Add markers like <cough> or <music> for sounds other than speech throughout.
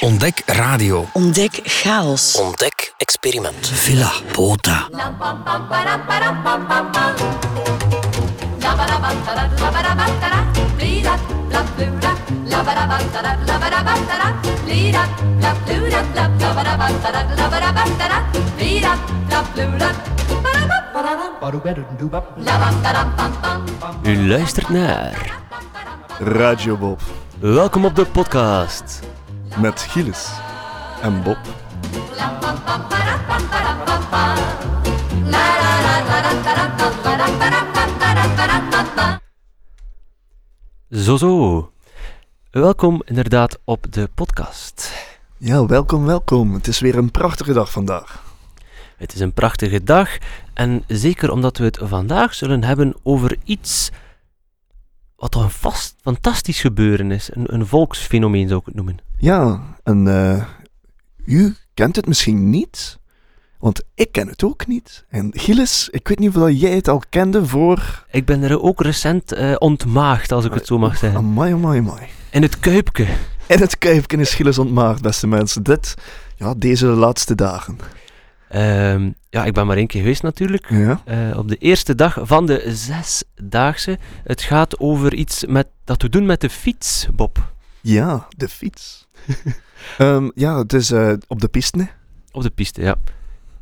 Ontdek radio. Ontdek chaos. Ontdek experiment. Villa Pota. U luistert naar Radio Bob Welkom op de podcast. met Gilles en Bob. Zo zo. Welkom inderdaad op de podcast. Ja, welkom, welkom. Het is weer een prachtige dag vandaag. Het is een prachtige dag en zeker omdat we het vandaag zullen hebben over iets wat toch een vast, fantastisch gebeuren is. Een, een volksfenomeen zou ik het noemen. Ja, en eh, u kent het misschien niet, want ik ken het ook niet. En Gilles, ik weet niet of dat jij het al kende voor... Ik ben er ook recent eh, ontmaagd, als ik het zo mag zeggen. Amai, amai, amai. In het kuipke. En het kuipje is Gilles ontmaagd, beste mensen. Dit, ja, deze laatste dagen. Ehm, ja, ik ben maar één keer geweest natuurlijk. Ja. Eh, op de eerste dag van de zesdaagse. Het gaat over iets met, dat we doen met de fiets, Bob. Ja, de fiets. Ehm, ja, het is eh, op de piste, hè. Op de piste, ja.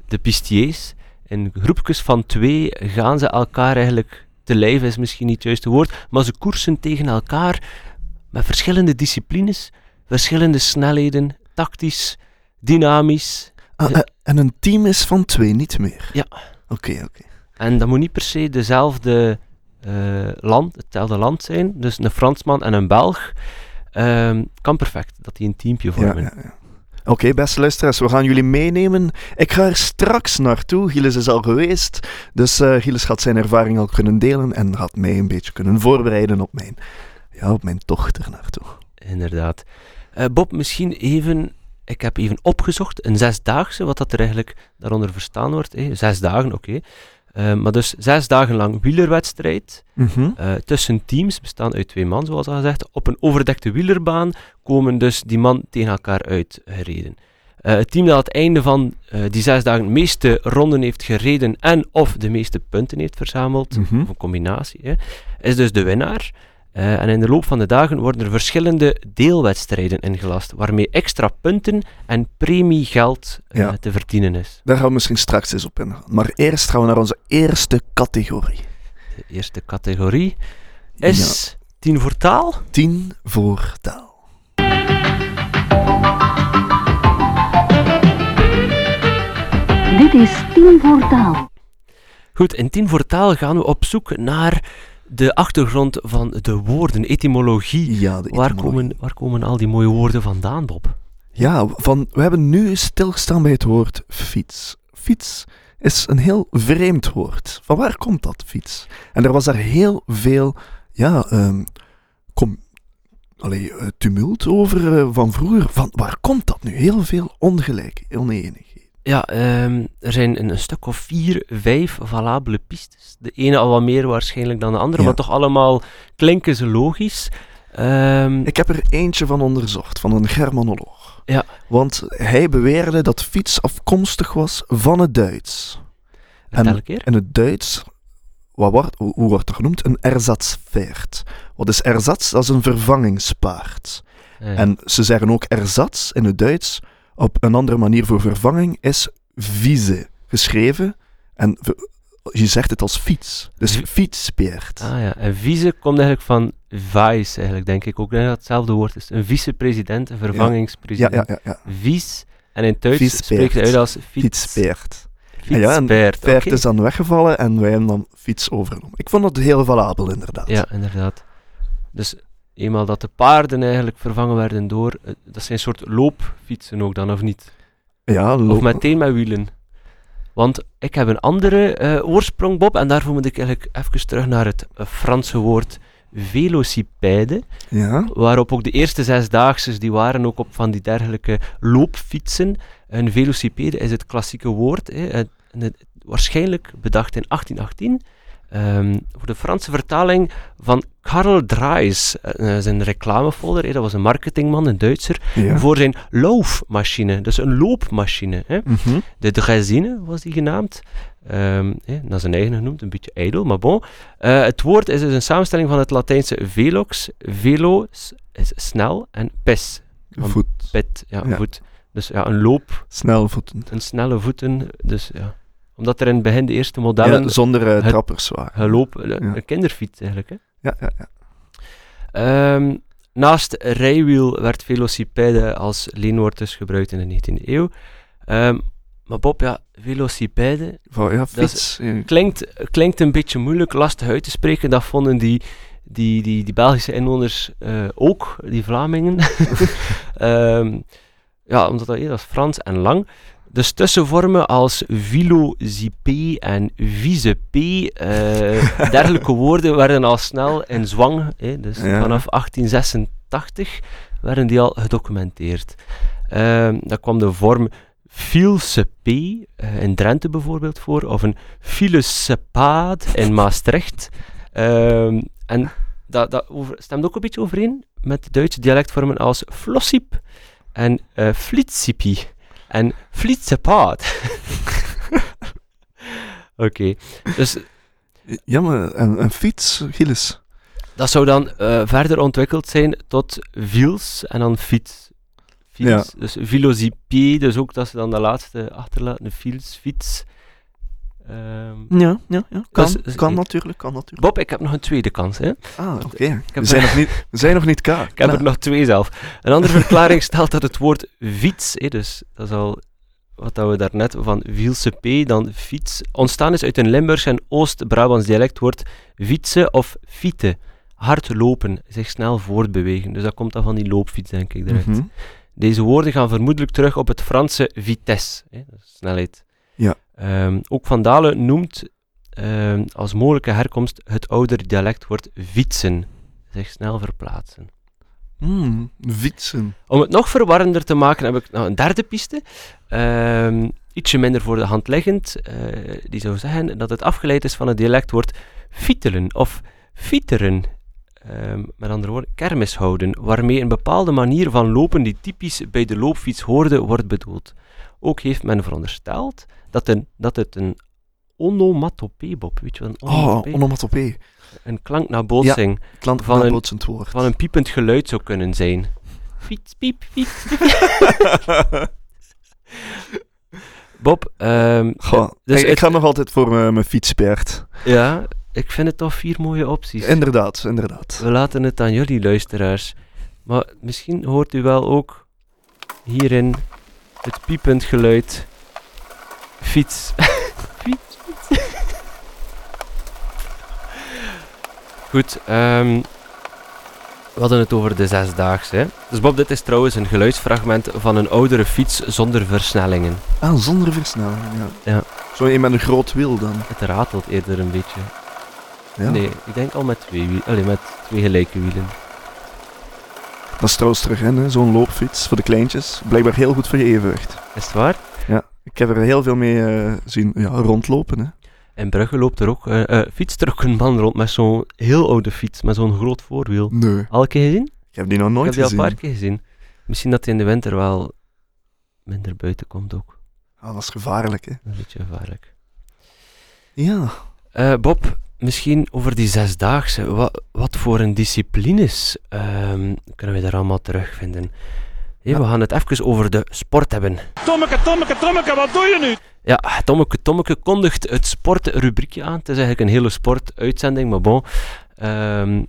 De pistiers. In groepjes van twee gaan ze elkaar eigenlijk te lijf, is misschien niet het juiste woord. Maar ze koersen tegen elkaar met verschillende disciplines, verschillende snelheden, tactisch, dynamisch. Ah, eh, en een team is van twee, niet meer. Ja. Oké, oké. En dat moet niet per se dezelfde eh, land, hetzelfde land zijn. Dus een Fransman en een Belg. ehm, kan perfect dat die een teampje Ja, vormen. ja, ja. Oké, beste luisteraars, we gaan jullie meenemen. Ik ga er straks naartoe. Gilles is al geweest. Dus eh Gilles gaat zijn ervaring al kunnen delen en gaat mij een beetje kunnen voorbereiden op mijn, ja, op mijn tocht er naartoe. Inderdaad. Eh, Bob, misschien even. Ik heb even opgezocht, een zesdaagse, wat dat er eigenlijk daaronder verstaan wordt. hè. Zes dagen, oké. Eh, maar dus zes dagen lang wielerwedstrijd eh, tussen teams, bestaan uit twee man, zoals al gezegd. Op een overdekte wielerbaan komen dus die man tegen elkaar uitgereden. Eh, het team dat aan het einde van eh, die zes dagen de meeste ronden heeft gereden en of de meeste punten heeft verzameld, Mhm. of een combinatie, hè, is dus de winnaar. Eh, en in de loop van de dagen worden er verschillende deelwedstrijden ingelast, waarmee extra punten en premiegeld eh, Ja. te verdienen is. Daar gaan we misschien straks eens op ingaan. Maar eerst gaan we naar onze eerste categorie. De eerste categorie is 10 voor taal. Tien voor taal. Dit is Team voor Taal. Goed, in 10 voor taal gaan we op zoek naar de achtergrond van de woorden, etymologie. Ja, de Waar etymologie. komen, waar komen al die mooie woorden vandaan, Bob? Ja, van, we hebben nu stilgestaan bij het woord fiets. Fiets is een heel vreemd woord. Van waar komt dat, fiets? En er was daar heel veel, ja, ehm, kom, allee, eh, tumult over eh, van vroeger. Van waar komt dat nu? Heel veel ongelijk, oneenigheid. Ja, ehm, er zijn een, een stuk of vier, vijf valabele pistes. De ene al wat meer waarschijnlijk dan de andere, Ja. maar toch allemaal klinken ze logisch. Ehm, Ik heb er eentje van onderzocht, van een Germanoloog. Ja. Want hij beweerde dat fiets afkomstig was van het Duits. vertel een keer. In het Duits, wat wordt, hoe hoe wordt er genoemd? Een ersatzpferd. Wat is ersatz? Dat is een vervangingspaard. Eh, En ze zeggen ook ersatz in het Duits, op een andere manier voor vervanging, is vieze. Geschreven, en ver- je zegt het als fiets. Dus Vi- fietspeert. Ah ja, en vice komt eigenlijk van vice, eigenlijk, denk ik. Ook denk dat hetzelfde woord is. Een vicepresident, een ja, vervangingspresident. ja, ja. ja. Vies. En in het Duits Viespeert. spreekt het uit als fiets. Fietspeert. Fietspeert. Ah Ja, en Peert oké. is dan weggevallen en wij hebben dan fiets overgenomen. Ik vond dat heel valabel, inderdaad. Ja, inderdaad. Dus eenmaal dat de paarden eigenlijk vervangen werden door... eh, Dat zijn soort loopfietsen ook dan, of niet? ja Of loop- meteen met wielen. Want ik heb een andere eh, oorsprong, Bob. En daarvoor moet ik eigenlijk even terug naar het eh, Franse woord velocipede. Ja. Waarop ook de eerste zesdaagses, die waren ook op van die dergelijke loopfietsen. Een Eh, velocipede is het klassieke woord. Hè. En het- waarschijnlijk bedacht in 1818. Ehm, voor de Franse vertaling van Karl Dreis, eh, zijn reclamefolder. eh, dat was een marketingman, een Duitser. Ja. Voor zijn loofmachine, dus een loopmachine. Hè. Mhm. De Dresine was die genaamd. Ehm eh, naar zijn eigen genoemd, een beetje ijdel, maar bon. Eh, het woord is dus een samenstelling van het Latijnse velox. Velo s- is snel en pes, Van Voet. pet, ja, Ja. voet. Dus ja, een loop, Snel voeten. een snelle voeten. Dus, ja. Omdat er in het begin de eerste modellen Ja, zonder eh, het- trappers waren. gelopen, eh, Ja. een kinderfiets eigenlijk. Hè. Ja, ja, ja. Ehm, naast rijwiel werd velocipede als leenwoord dus gebruikt in de 19e eeuw. Ehm, maar Bob, ja, velocipede, Van, ja, Dat is- fiets. eh, klinkt, klinkt een beetje moeilijk, lastig uit te spreken. Dat vonden die, die, die, die Belgische inwoners eh, ook, die Vlamingen. <laughs> Ehm, ja, omdat dat, eh, dat is Frans en lang. Dus tussenvormen als vilozipé en visepé, eh dergelijke woorden, werden al snel in zwang. eh, dus Ja. vanaf 1886 werden die al gedocumenteerd. Ehm dan kwam de vorm filsepé eh, in Drenthe bijvoorbeeld voor, of een filesepaad in Maastricht. Ehm, en dat, dat over- stemt ook een beetje overeen met Duitse dialectvormen als flossiep en eh flitsipie en flitsepaad. <laughs> Oké, dus Ja, maar een, een fiets, Gilles. dat zou dan eh, verder ontwikkeld zijn tot viels en dan fiets. Fiets. Ja. Dus filosipie, dus ook dat ze dan de laatste achterlaten, fiels, fiets. Ehm, Ja, ja, ja. Kan, Dat is- kan natuurlijk, kan natuurlijk. Bob, ik heb nog een tweede kans. Hè? Ah, oké. heb We, zijn nog niet- we zijn nog niet klaar. Ik heb er nog twee zelf. Een <laughs> andere verklaring stelt dat het woord fiets, hè, dus dat is al wat dat we daarnet van Wielse P, dan fiets, ontstaan is uit een Limburgs en Oost-Brabants dialectwoord fietsen of fieten. Hard lopen, zich snel voortbewegen. Dus dat komt dan van die loopfiets, denk ik. eruit. Mhm. Deze woorden gaan vermoedelijk terug op het Franse vitesse, hè, dat is snelheid. Ja. Ehm, ook Van Dalen noemt ehm, als mogelijke herkomst het oudere dialectwoord fietsen, zich snel verplaatsen. Hmm, fietsen. Om het nog verwarrender te maken heb ik nog een derde piste. Ehm, ietsje minder voor de hand liggend. Eh, die zou zeggen dat het afgeleid is van het dialectwoord fietelen of fieteren. Ehm, met andere woorden, kermis houden, waarmee een bepaalde manier van lopen die typisch bij de loopfiets hoorde, wordt bedoeld. Ook heeft men verondersteld dat, een, dat het een onomatopee, Bob, weet je wat een Oh, onomatopee? onomatopee. een klank-nabootsing Klant Van van een- een bootsend woord. <laughs> van een piepend geluid zou kunnen zijn. Fiets, piep, piep, Bob, ehm, Goh, Dus ik, ik het- ga nog altijd voor eh, mijn fietspert. ja, ik vind het toch vier mooie opties. Inderdaad, inderdaad. We laten het aan jullie luisteraars. Maar misschien hoort u wel ook hierin het piepend geluid. Fiets. <laughs> fiets, fiets. Goed, ehm, we hadden het over de zesdaagse. hè. Dus Bob, dit is trouwens een geluidsfragment van een oudere fiets zonder versnellingen. Ah, zonder versnelling, ja. Ja. Zo een met een groot wiel dan. Het ratelt eerder een beetje. Ja. Nee, ik denk al met twee, wiel- allee, met twee gelijke wielen. Dat is trouwens terug in, hè, zo'n loopfiets voor de kleintjes. Blijkbaar heel goed voor je evenwicht. Is het waar? Ik heb er heel veel mee eh, zien ja, rondlopen. Hè. In Brugge loopt er ook, eh eh fietst er ook een man rond met zo'n heel oude fiets, met zo'n groot voorwiel. Nee. Al een keer gezien? Ik heb die nog ik nooit heb die al een gezien. paar keer gezien. Misschien dat hij in de winter wel minder buiten komt ook. Ah, dat is gevaarlijk, hè. Een beetje gevaarlijk. Ja. Eh, Bob, misschien over die zesdaagse. Wat, wat voor een disciplines ehm, kunnen we daar allemaal terugvinden? Hé, We gaan het even over de sport hebben. Tommeke, Tommeke, Tommeke, wat doe je nu? Ja, Tommeke Tommeke kondigt het sportrubriekje aan. Het is eigenlijk een hele sportuitzending, maar bon. Ehm,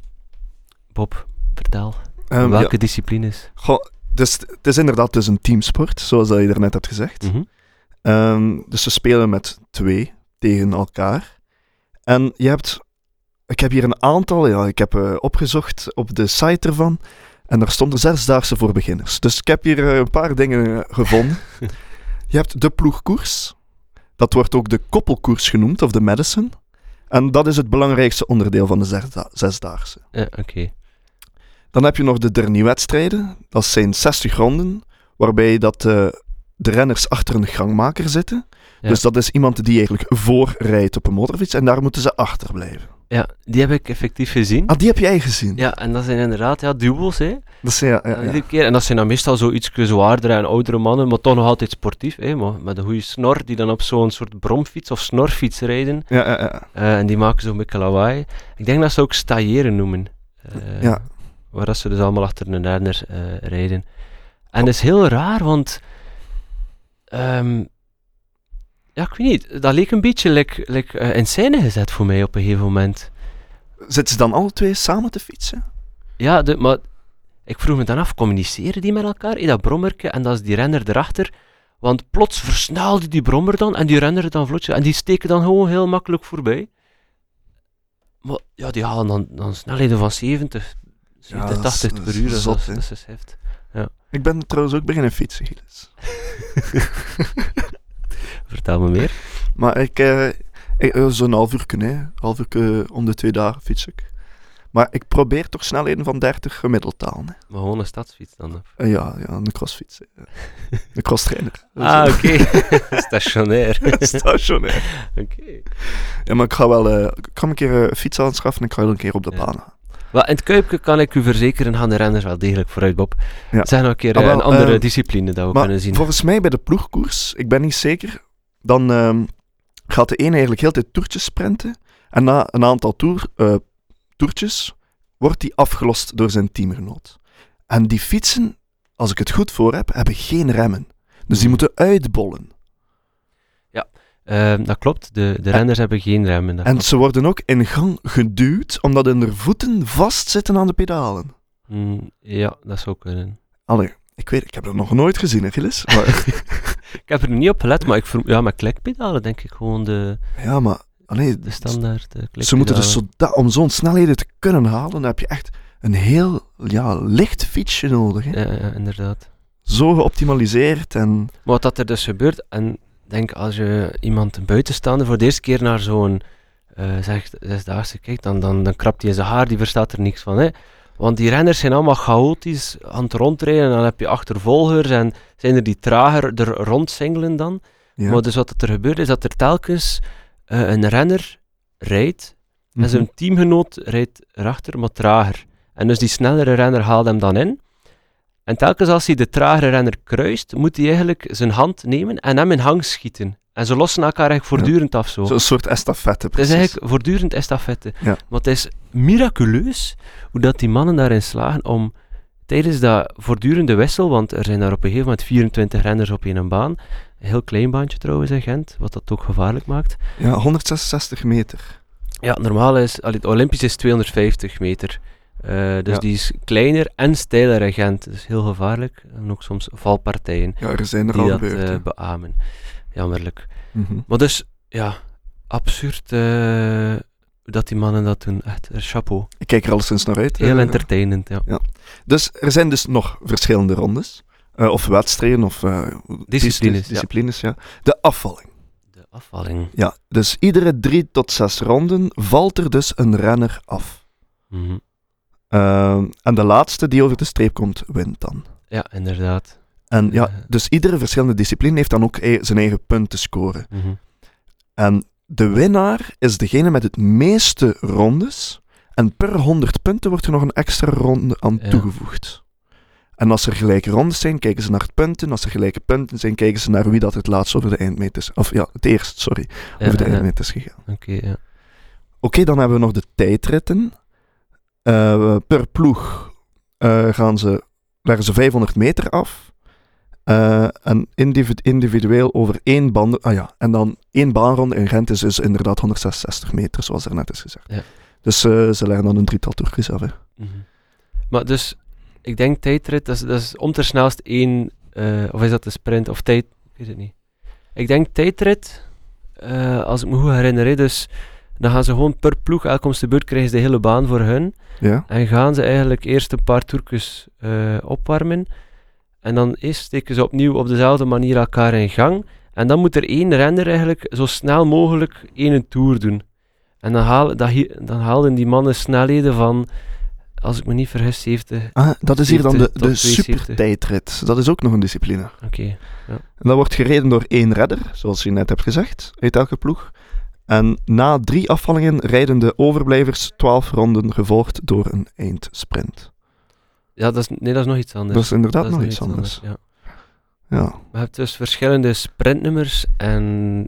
Bob, vertel. Ehm, welke ja. disciplines? Goh, dus t- het is inderdaad dus een teamsport, zoals dat je daarnet hebt gezegd. Mhm. Ehm, dus ze spelen met twee tegen elkaar. En je hebt... Ik heb hier een aantal, ja, ik heb eh, opgezocht op de site ervan. En daar stond de zesdaagse voor beginners. Dus ik heb hier eh, een paar dingen eh, gevonden. je hebt de ploegkoers. Dat wordt ook de koppelkoers genoemd, of de Madison. En dat is het belangrijkste onderdeel van de zesda- zesdaagse. Ja, Eh, Oké. Dan heb je nog de derniewedstrijden. Dat zijn 60 ronden, waarbij dat, eh, de renners achter een gangmaker zitten. Ja. Dus dat is iemand die eigenlijk voorrijdt op een motorfiets en daar moeten ze achter blijven. Ja, die heb ik effectief gezien. Ah, die heb jij gezien. Ja, en dat zijn inderdaad ja, duels, hè. Dat is, ja, ja, En ja. iedere keer. En dat zijn dan meestal zo iets zwaardere en oudere mannen, maar toch nog altijd sportief, hè. Maar met een goede snor, die dan op zo'n soort bromfiets of snorfiets rijden. Ja, ja, ja. Eh, en die maken zo'n beetje lawaai. Ik denk dat ze ook stailleren noemen. Eh, Ja. Waar dat ze dus allemaal achter een herder eh, rijden. En dat is heel raar, want... ehm, ja, ik weet niet. Dat leek een beetje like, like, eh, in scène gezet voor mij op een gegeven moment. Zitten ze dan alle twee samen te fietsen? Ja, de, maar ik vroeg me dan af, communiceren die met elkaar in dat brommerke en dat is die renner erachter? Want plots versnelde die brommer dan en die renner dan vlotje en die steken dan gewoon heel makkelijk voorbij. Maar ja, die halen dan, dan snelheden van 70, 70 dat is- 80 dat per is uur. Dat is, zot, dat, hè? is dus heft. Ik ben trouwens ook beginnen fietsen, Gilles. Vertel me meer. Maar ik, eh, ik- eh, zo'n half uur kunnen, half uur eh, om de twee dagen fiets ik. Maar ik probeer toch snelheden van 30 gemiddeld te halen. hè. Maar gewoon een stadsfiets dan. of? Eh, ja, ja, een crossfiets. hè. Een crosstrainer. Ah, oké. <laughs> Stationair. Stationair. Oké. Ja, maar ik ga wel eh, ik ga me een keer eh, een fiets aanschaffen en ik ga wel een keer op de Ja. baan gaan. Wel, in het Kuipje kan ik u verzekeren, gaan de renners wel degelijk vooruit, Bob. Ja. Zijn nog een keer Ah, eh, wel, een andere eh, discipline dat we maar kunnen zien. volgens mij bij de ploegkoers, ik ben niet zeker, dan ehm, gaat de ene eigenlijk heel de tijd toertjes sprinten. En na een aantal toer, eh, toertjes wordt die afgelost door zijn teamgenoot. En die fietsen, als ik het goed voor heb, hebben geen remmen. Dus Hmm. die moeten uitbollen. Ehm, dat klopt, de, de renners hebben geen remmen. dat En klopt. ze worden ook in gang geduwd, omdat hun voeten vastzitten aan de pedalen. Mm, ja, dat zou kunnen. Allee, ik weet, ik heb dat nog nooit gezien, hè, Gilles. Maar, Ik heb er niet op gelet, maar ik vroeg, ja, met klikpedalen denk ik gewoon de, ja, maar... Allee, de standaard eh, klikpedalen. Ze moeten dus zoda- om zo'n snelheden te kunnen halen, dan heb je echt een heel ja, licht fietsje nodig. Hè? Ja, ja, inderdaad. Zo geoptimaliseerd en Maar wat dat er dus gebeurt, en denk als je iemand een buitenstaander voor de eerste keer naar zo'n eh zeg, zesdaagse kijkt, dan, dan, dan krapt hij in zijn haar, die verstaat er niks van. Hè? Want die renners zijn allemaal chaotisch aan het rondrijden, en dan heb je achtervolgers, en zijn er die trager er rondsingelen dan. ja. Maar dus wat er gebeurt is dat er telkens eh, een renner rijdt Mhm. en zijn teamgenoot rijdt erachter, maar trager. En dus die snellere renner haalt hem dan in. En telkens als hij de tragere renner kruist, moet hij eigenlijk zijn hand nemen en hem in hang schieten. En ze lossen elkaar eigenlijk Ja. voortdurend af zo. zo'n soort estafette. Het Precies. is eigenlijk voortdurend estafette. Ja. Maar het is miraculeus hoe dat die mannen daarin slagen om tijdens dat voortdurende wissel, want er zijn daar op een gegeven moment 24 renners op één baan, een heel klein baantje trouwens in Gent, wat dat ook gevaarlijk maakt. Ja, 166 meter. Ja, normaal is, allee, het Olympisch is 250 meter. Eh, dus Ja. die is kleiner en steiler in Gent. Dus heel gevaarlijk. En ook soms valpartijen Ja, er zijn er die al dat gebeurd. eh, hè. beamen. Jammerlijk. Mhm. Maar dus, ja, absurd eh, dat die mannen dat doen. Echt, eh, chapeau. Ik kijk er alleszins naar uit. Heel eh. entertainend, ja. Dus er zijn dus nog verschillende rondes. eh, of wedstrijden, of... eh, Disciplines, ja. disciplines ja. De afvalling. De afvalling. Ja, dus iedere drie tot zes ronden valt er dus een renner af. Mhm. Ehm, en de laatste die over de streep komt, wint dan. Ja, inderdaad. En ja, Eh. dus iedere verschillende discipline heeft dan ook e- zijn eigen punten scoren. Mhm. En de winnaar is degene met het meeste rondes. En per 100 punten wordt er nog een extra ronde aan Ja. toegevoegd. En als er gelijke rondes zijn, kijken ze naar het punten. Als er gelijke punten zijn, kijken ze naar wie dat het laatst over de eindmeet is. Of ja, het eerst, sorry, Ja, over de ja, eindmeet is gegaan. Oké, ja. Oké, dan hebben we nog de tijdritten. Eh, per ploeg eh, gaan ze, leggen ze 500 meter af. Eh, en individ- individueel over één band. Ah ja, en dan één baanronde in Gent is dus inderdaad 166 meter, zoals er net is gezegd. Ja. Dus eh, ze leggen dan een drietal toertjes af. hè. Mhm. Maar dus, ik denk tijdrit, dat is, dat is om ter snelst één, eh, of is dat de sprint, of tijd, ik weet het niet. Ik denk tijdrit, eh, als ik me goed herinner, hè, dus dan gaan ze gewoon per ploeg, elk om de beurt krijgen ze de hele baan voor hun. Ja? En gaan ze eigenlijk eerst een paar toerkes eh, opwarmen. En dan eerst steken ze opnieuw op dezelfde manier elkaar in gang. En dan moet er één renner eigenlijk zo snel mogelijk één tour doen. En dan, haal, dat, hi- dan haalden die mannen snelheden van als ik me niet vergis, 70. Oké. Ah, dat is hier dan de, 70 de tot 72. supertijdrit. Dat is ook nog een discipline. En dat wordt gereden door één redder, zoals je net hebt gezegd, uit elke ploeg. En na drie afvallingen rijden de overblijvers twaalf ronden gevolgd door een eindsprint. Ja, dat is, nee, dat is nog iets anders. Dat is inderdaad nog nog iets anders. ja. Ja. Maar je hebt dus verschillende sprintnummers en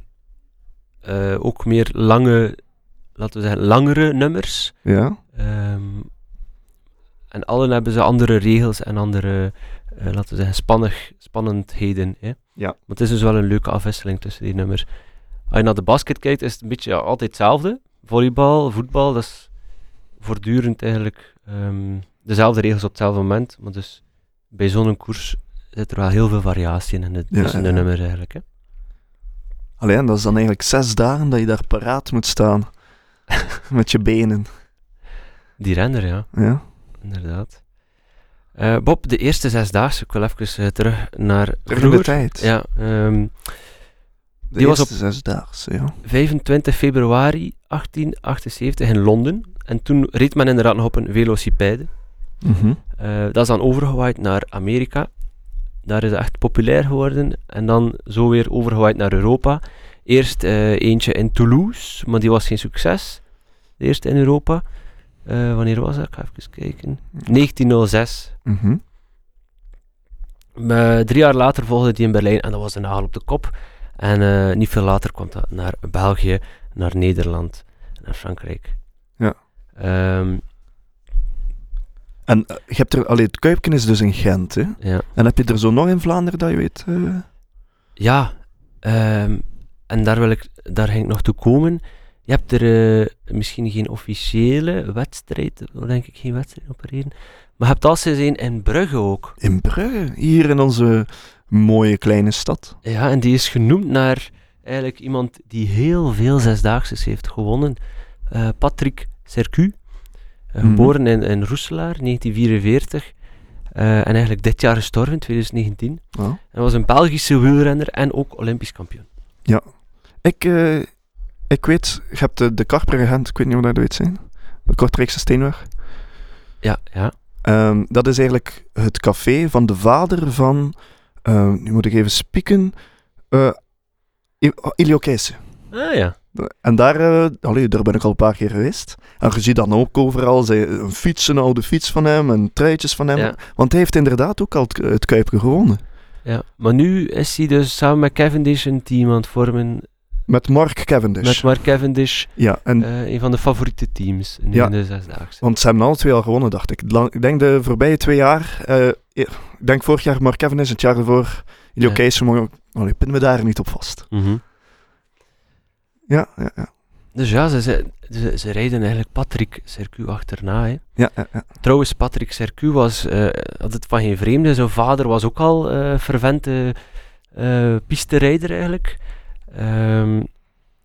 eh, ook meer lange, laten we zeggen, langere nummers. ja. Ehm, en allen hebben ze andere regels en andere, eh, laten we zeggen, spannig, spannendheden. Hè? Ja. Maar het is dus wel een leuke afwisseling tussen die nummers. Als je naar de basket kijkt, is het een beetje ja, altijd hetzelfde. Volleybal, voetbal, dat is voortdurend eigenlijk ehm, dezelfde regels op hetzelfde moment. Maar dus bij zo'n koers zit er wel heel veel variatie in, in de, Ja, tussen de ja. nummers eigenlijk. Hè? Alleen dat is dan eigenlijk zes dagen dat je daar paraat moet staan. <laughs> Met je benen. Die renner, ja. Ja. inderdaad. Eh, Bob, de eerste zesdaagse, ik wil even eh, terug naar Terug in de vroeger. tijd. Ja, ehm, De die was eerste zesdaagse, ja. 25 februari 1878 in Londen. En toen reed men inderdaad nog op een velocipede. Mhm. Eh, dat is dan overgewaaid naar Amerika. Daar is het echt populair geworden. En dan zo weer overgewaaid naar Europa. Eerst eh, eentje in Toulouse, maar die was geen succes. De eerste in Europa. Eh, wanneer was dat? Ik ga even kijken. 1906. Mhm. Maar drie jaar later volgde die in Berlijn en dat was de nagel op de kop. En eh, niet veel later kwam dat naar België, naar Nederland, naar Frankrijk. Ja. Ehm, En eh, je hebt er, allee, het Kuipken is dus in Gent, hè? ja. En heb je er zo nog in Vlaanderen dat je weet? eh? Ja, ehm, en daar, wil ik, daar ging ik nog toe komen. Je hebt er eh, misschien geen officiële wedstrijd, denk ik, geen wedstrijd op reden. Maar je hebt al sinds één in Brugge ook. In Brugge, hier in onze mooie kleine stad. Ja, en die is genoemd naar eigenlijk iemand die heel veel zesdaagses heeft gewonnen. Eh, Patrick Sercu, eh, Mhm. geboren in, in Roeselaar, 1944. eh, en eigenlijk dit jaar gestorven, 2019. Ja. En was een Belgische wielrenner en ook Olympisch kampioen. Ik, eh, ik weet, je hebt de, de Karper in Gent, ik weet niet hoe dat weet zijn. De Kortrijkse Steenweg. Ja, ja. Ehm, dat is eigenlijk het café van de vader van, ehm, nu moet ik even spieken, eh I- oh, Ilio Keijsen. Ah ja. En daar, eh, allee, daar ben ik al een paar keer geweest. En je ziet dan ook overal zij- een fiets, een oude fiets van hem en truitjes van hem. Ja. Want hij heeft inderdaad ook al het, het Kuipje gewonnen. ja. Maar nu is hij dus samen met Cavendish een team aan het vormen. Met Mark Cavendish. Met Mark Cavendish, Ja, en eh, een van de favoriete teams nu Ja. in de zesdaagse. Want ze hebben alle twee al gewonnen, dacht ik. Lang- ik denk de voorbije twee jaar. eh, ik denk vorig jaar Mark Kevin is, het jaar ervoor. Jullie Ja. oké, ze mogen. Oh, nee, pinnen we daar niet op vast. Mhm. Ja, ja, ja. Dus ja, ze, ze, ze, ze rijden eigenlijk Patrick Sercu achterna. Hè. ja, ja, ja. Trouwens, Patrick Sercu was eh, had het van geen vreemde. Zijn vader was ook al eh fervente eh pisterijder eigenlijk. Ehm,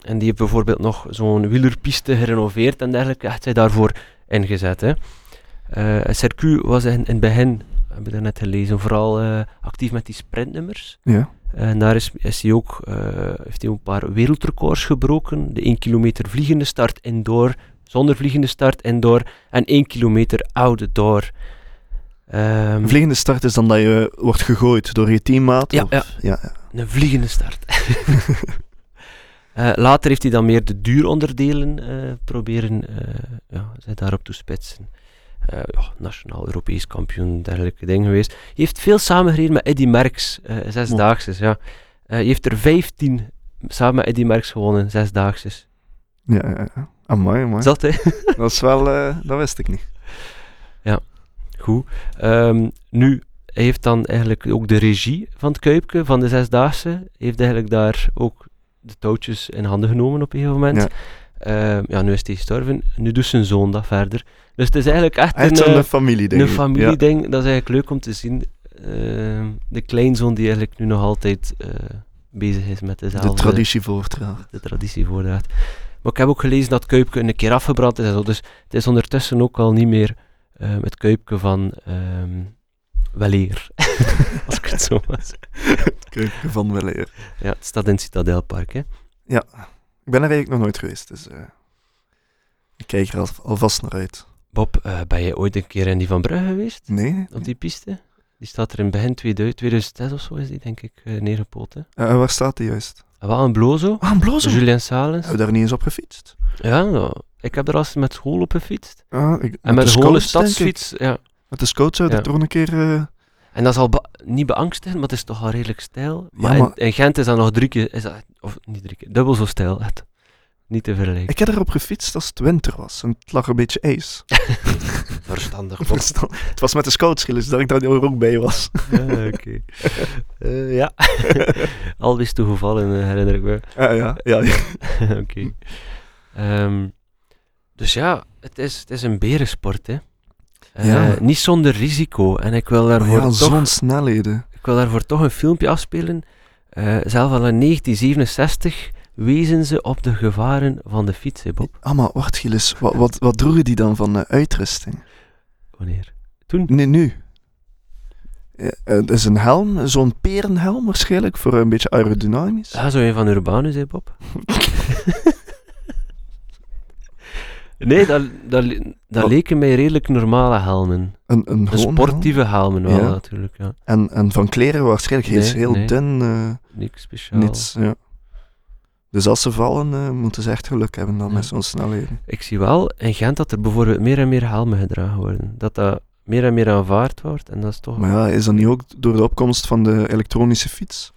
en die heeft bijvoorbeeld nog zo'n wielerpiste gerenoveerd en dergelijke. Echt hij daarvoor ingezet. Hè. Eh, Sercu was in, in het begin, hebben we daarnet gelezen, vooral eh, actief met die sprintnummers. ja. Eh, En daar is, is hij ook, eh, heeft hij ook een paar wereldrecords gebroken. De 1 kilometer vliegende start indoor, zonder vliegende start indoor en 1 kilometer oude door. Ehm, Een vliegende start is dan dat je eh, wordt gegooid door je teammaat. Ja, of- ja. ja, ja. een vliegende start. <laughs> Eh, later heeft hij dan meer de duuronderdelen eh, proberen eh ja, zich daarop te spitsen. Eh, ja, nationaal, Europees kampioen, dergelijke dingen geweest. Hij heeft veel samengereden met Eddy Merckx, eh zesdaagses. Ja. Eh, hij heeft er 15 samen met Eddy Merckx gewonnen, zesdaagses. ja, ja, ja. Amai, amai. Zat hè? Dat is wel, eh, dat wist ik niet. Goed. Ehm, nu, hij heeft dan eigenlijk ook de regie van het Kuipke, van de Zesdaagse, Hij heeft eigenlijk daar ook de touwtjes in handen genomen op een gegeven moment. Ja. Ja. ja, nu is hij gestorven. Nu doet zijn zoon dat verder. Dus het is eigenlijk echt, Echt een, zo'n eh, familie, een, denk ik. Ja. familieding. Dat is eigenlijk leuk om te zien. Ehm, de kleinzoon die eigenlijk nu nog altijd eh, bezig is met dezelfde De traditie voortdragen. de traditie voordraagt. Maar ik heb ook gelezen dat Kuipke een keer afgebrand is en zo. Dus het is ondertussen ook al niet meer ehm, het Kuipke van ehm weleer. <laughs> Als ik het zo was. Kuipje van weleer. Ja, het staat in het Citadelpark, hè. Ja. Ik ben er eigenlijk nog nooit geweest, dus... eh, ik kijk er al, alvast naar uit. Bob, eh, ben jij ooit een keer in die Van Brugge geweest? Nee. Op die piste? Die staat er in begin 2000, 2006 of zo is die, denk ik, eh, neergepoot. Hè? Eh, waar staat die juist? Ah, Wel een blozo, Ah, een blozo. Julian Salens. Hebben we daar niet eens op gefietst? Ja, nou, ik heb er als met school op gefietst. Ah, ik, En met de een gewone scouts, denk ik. stadsfiets, ja. Met de scouts zou ik Ja. toch een keer... eh, En dat is al be- niet beangstigend, maar het is toch al redelijk stijl. Maar, maar- In, in Gent is dat nog drie keer, is dat, of niet drie keer, dubbel zo stijl. Het, niet te <laughs> vergelijken. Ik heb erop gefietst als het winter was. En het lag een beetje ijs. <laughs> Verstandig. Bob. Verstaan? het was met de scouts, dus dat ik daar er ook bij <laughs> was. Ja, oké. Eh, ja, <laughs> al is toegevallen, eh, herinner ik me. <laughs> Ja, ja, ja. ja. oké. Ehm, dus ja, het is, het is een berensport, hè. Eh, Ja. Niet zonder risico. En ik wil Maar daarvoor, ja, toch, zo'n snelheden. ik wil daarvoor toch een filmpje afspelen. Eh, zelf al in 1967 wezen ze op de gevaren van de fiets, hè, Bob. Ah, maar wacht Gilles, wat, wat, wat droegen die dan van eh, uitrusting? Wanneer? Nee, nu. Ja, eh, dat is een helm, zo'n perenhelm waarschijnlijk, voor een beetje aerodynamisch. Ja, zo een van Urbanus, hè, <laughs> Bob. nee, dat, dat, dat Wat? leken mij redelijk normale helmen. Een, een De gewoon sportieve helmen wel, Ja. natuurlijk. Ja. helm. En, en van kleren waarschijnlijk heel, Nee, heel nee. dun, eh, Niks speciaal. niets. Ja. Dus als ze vallen, eh, moeten ze echt geluk hebben dan Ja. met zo'n snelheden. Ik zie wel in Gent dat er bijvoorbeeld meer en meer helmen gedragen worden. Dat dat meer en meer aanvaard wordt. En dat is toch... Maar ja, is dat niet ook door de opkomst van de elektronische fiets?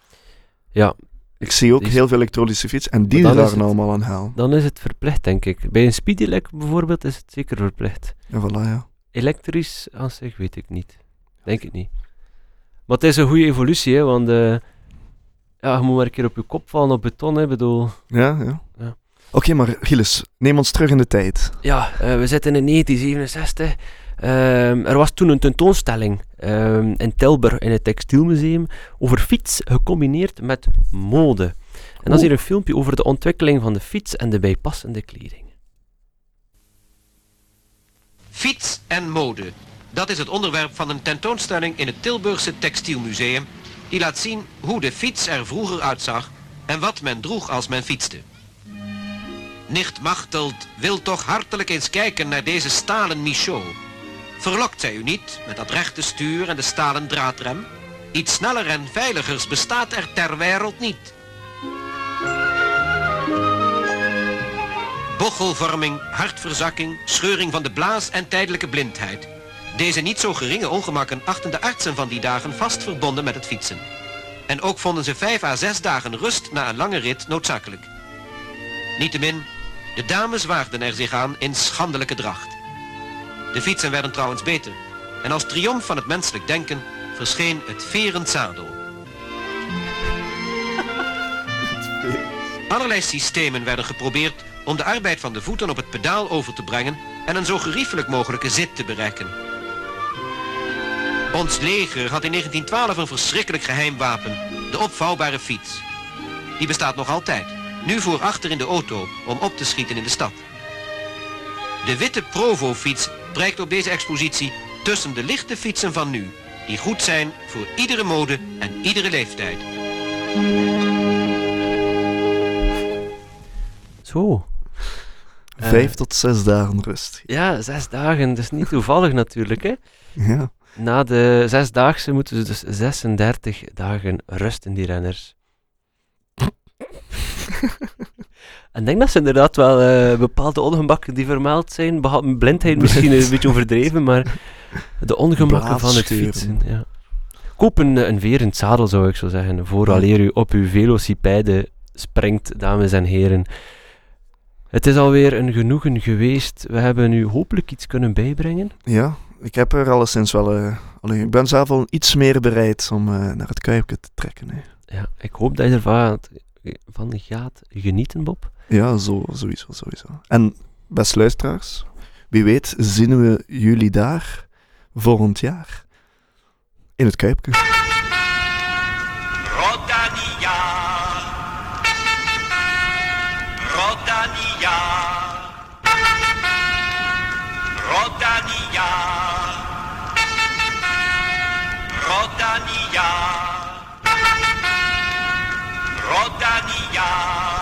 Ja, Ik zie ook Die is- heel veel elektronische fiets en die Maar dan is dragen het- allemaal een helm. dan is het verplicht, denk ik. Bij een speedylek bijvoorbeeld is het zeker verplicht. En voilà, ja. Elektrisch aan zich weet ik niet. Denk ik niet. Maar het is een goede evolutie, hè, want... eh, ja, je moet maar een keer op je kop vallen op beton, hè, bedoel... Ja, ja. Ja. Oké, maar Gilles, neem ons terug in de tijd. Ja, eh, we zitten in 1967. Ehm, er was toen een tentoonstelling ehm, in Tilburg in het Textielmuseum over fiets gecombineerd met mode. En dan is hier een filmpje over de ontwikkeling van de fiets en de bijpassende kleding. Fiets en mode. Dat is het onderwerp van een tentoonstelling in het Tilburgse Textielmuseum. Die laat zien hoe de fiets er vroeger uitzag en wat men droeg als men fietste. Nicht Machteld wil toch hartelijk eens kijken naar deze stalen Michaud. Verlokt zij u niet met dat rechte stuur en de stalen draadrem? Iets sneller en veiligers bestaat er ter wereld niet. Bochelvorming, hartverzakking, scheuring van de blaas en tijdelijke blindheid. Deze niet zo geringe ongemakken achten de artsen van die dagen vast verbonden met het fietsen. En ook vonden ze vijf à zes dagen rust na een lange rit noodzakelijk. Niettemin, de dames waagden er zich aan in schandelijke dracht. De fietsen werden trouwens beter. En als triomf van het menselijk denken verscheen het verend zadel. Allerlei systemen werden geprobeerd om de arbeid van de voeten op het pedaal over te brengen en een zo geriefelijk mogelijke zit te bereiken. Ons leger had in 1912 een verschrikkelijk geheim wapen, de opvouwbare fiets. Die bestaat nog altijd, nu voor achter in de auto om op te schieten in de stad. De witte Provo-fiets prijkt op deze expositie tussen de lichte fietsen van nu, die goed zijn voor iedere mode en iedere leeftijd. Zo. Eh. Vijf tot zes dagen rust. Ja, zes dagen. Dat is niet toevallig natuurlijk. Hè. Ja. Na de zesdaagse moeten ze dus 36 dagen rusten, die renners. en ik denk dat ze inderdaad wel eh, bepaalde ongemakken die vermeld zijn, behalve blindheid misschien een beetje overdreven, maar de ongemakken van het Blaassturen. fietsen. Ja. Koop een, eh, een verend zadel, zou ik zo zeggen, vooraleer u op uw velocipede springt, dames en heren. Het is alweer een genoegen geweest. We hebben u hopelijk iets kunnen bijbrengen. ja, ik heb er alleszins wel... eh, allee, ik ben zelf al iets meer bereid om eh, naar het kuipje te trekken. Hè. Ja, ik hoop dat je ervan van gaat genieten, Bob. Ja, zo, sowieso, sowieso. En best luisteraars, wie weet zien we jullie daar volgend jaar. In het kuipje. Rodania. Rodania. Rodania. Rodania. Rodania.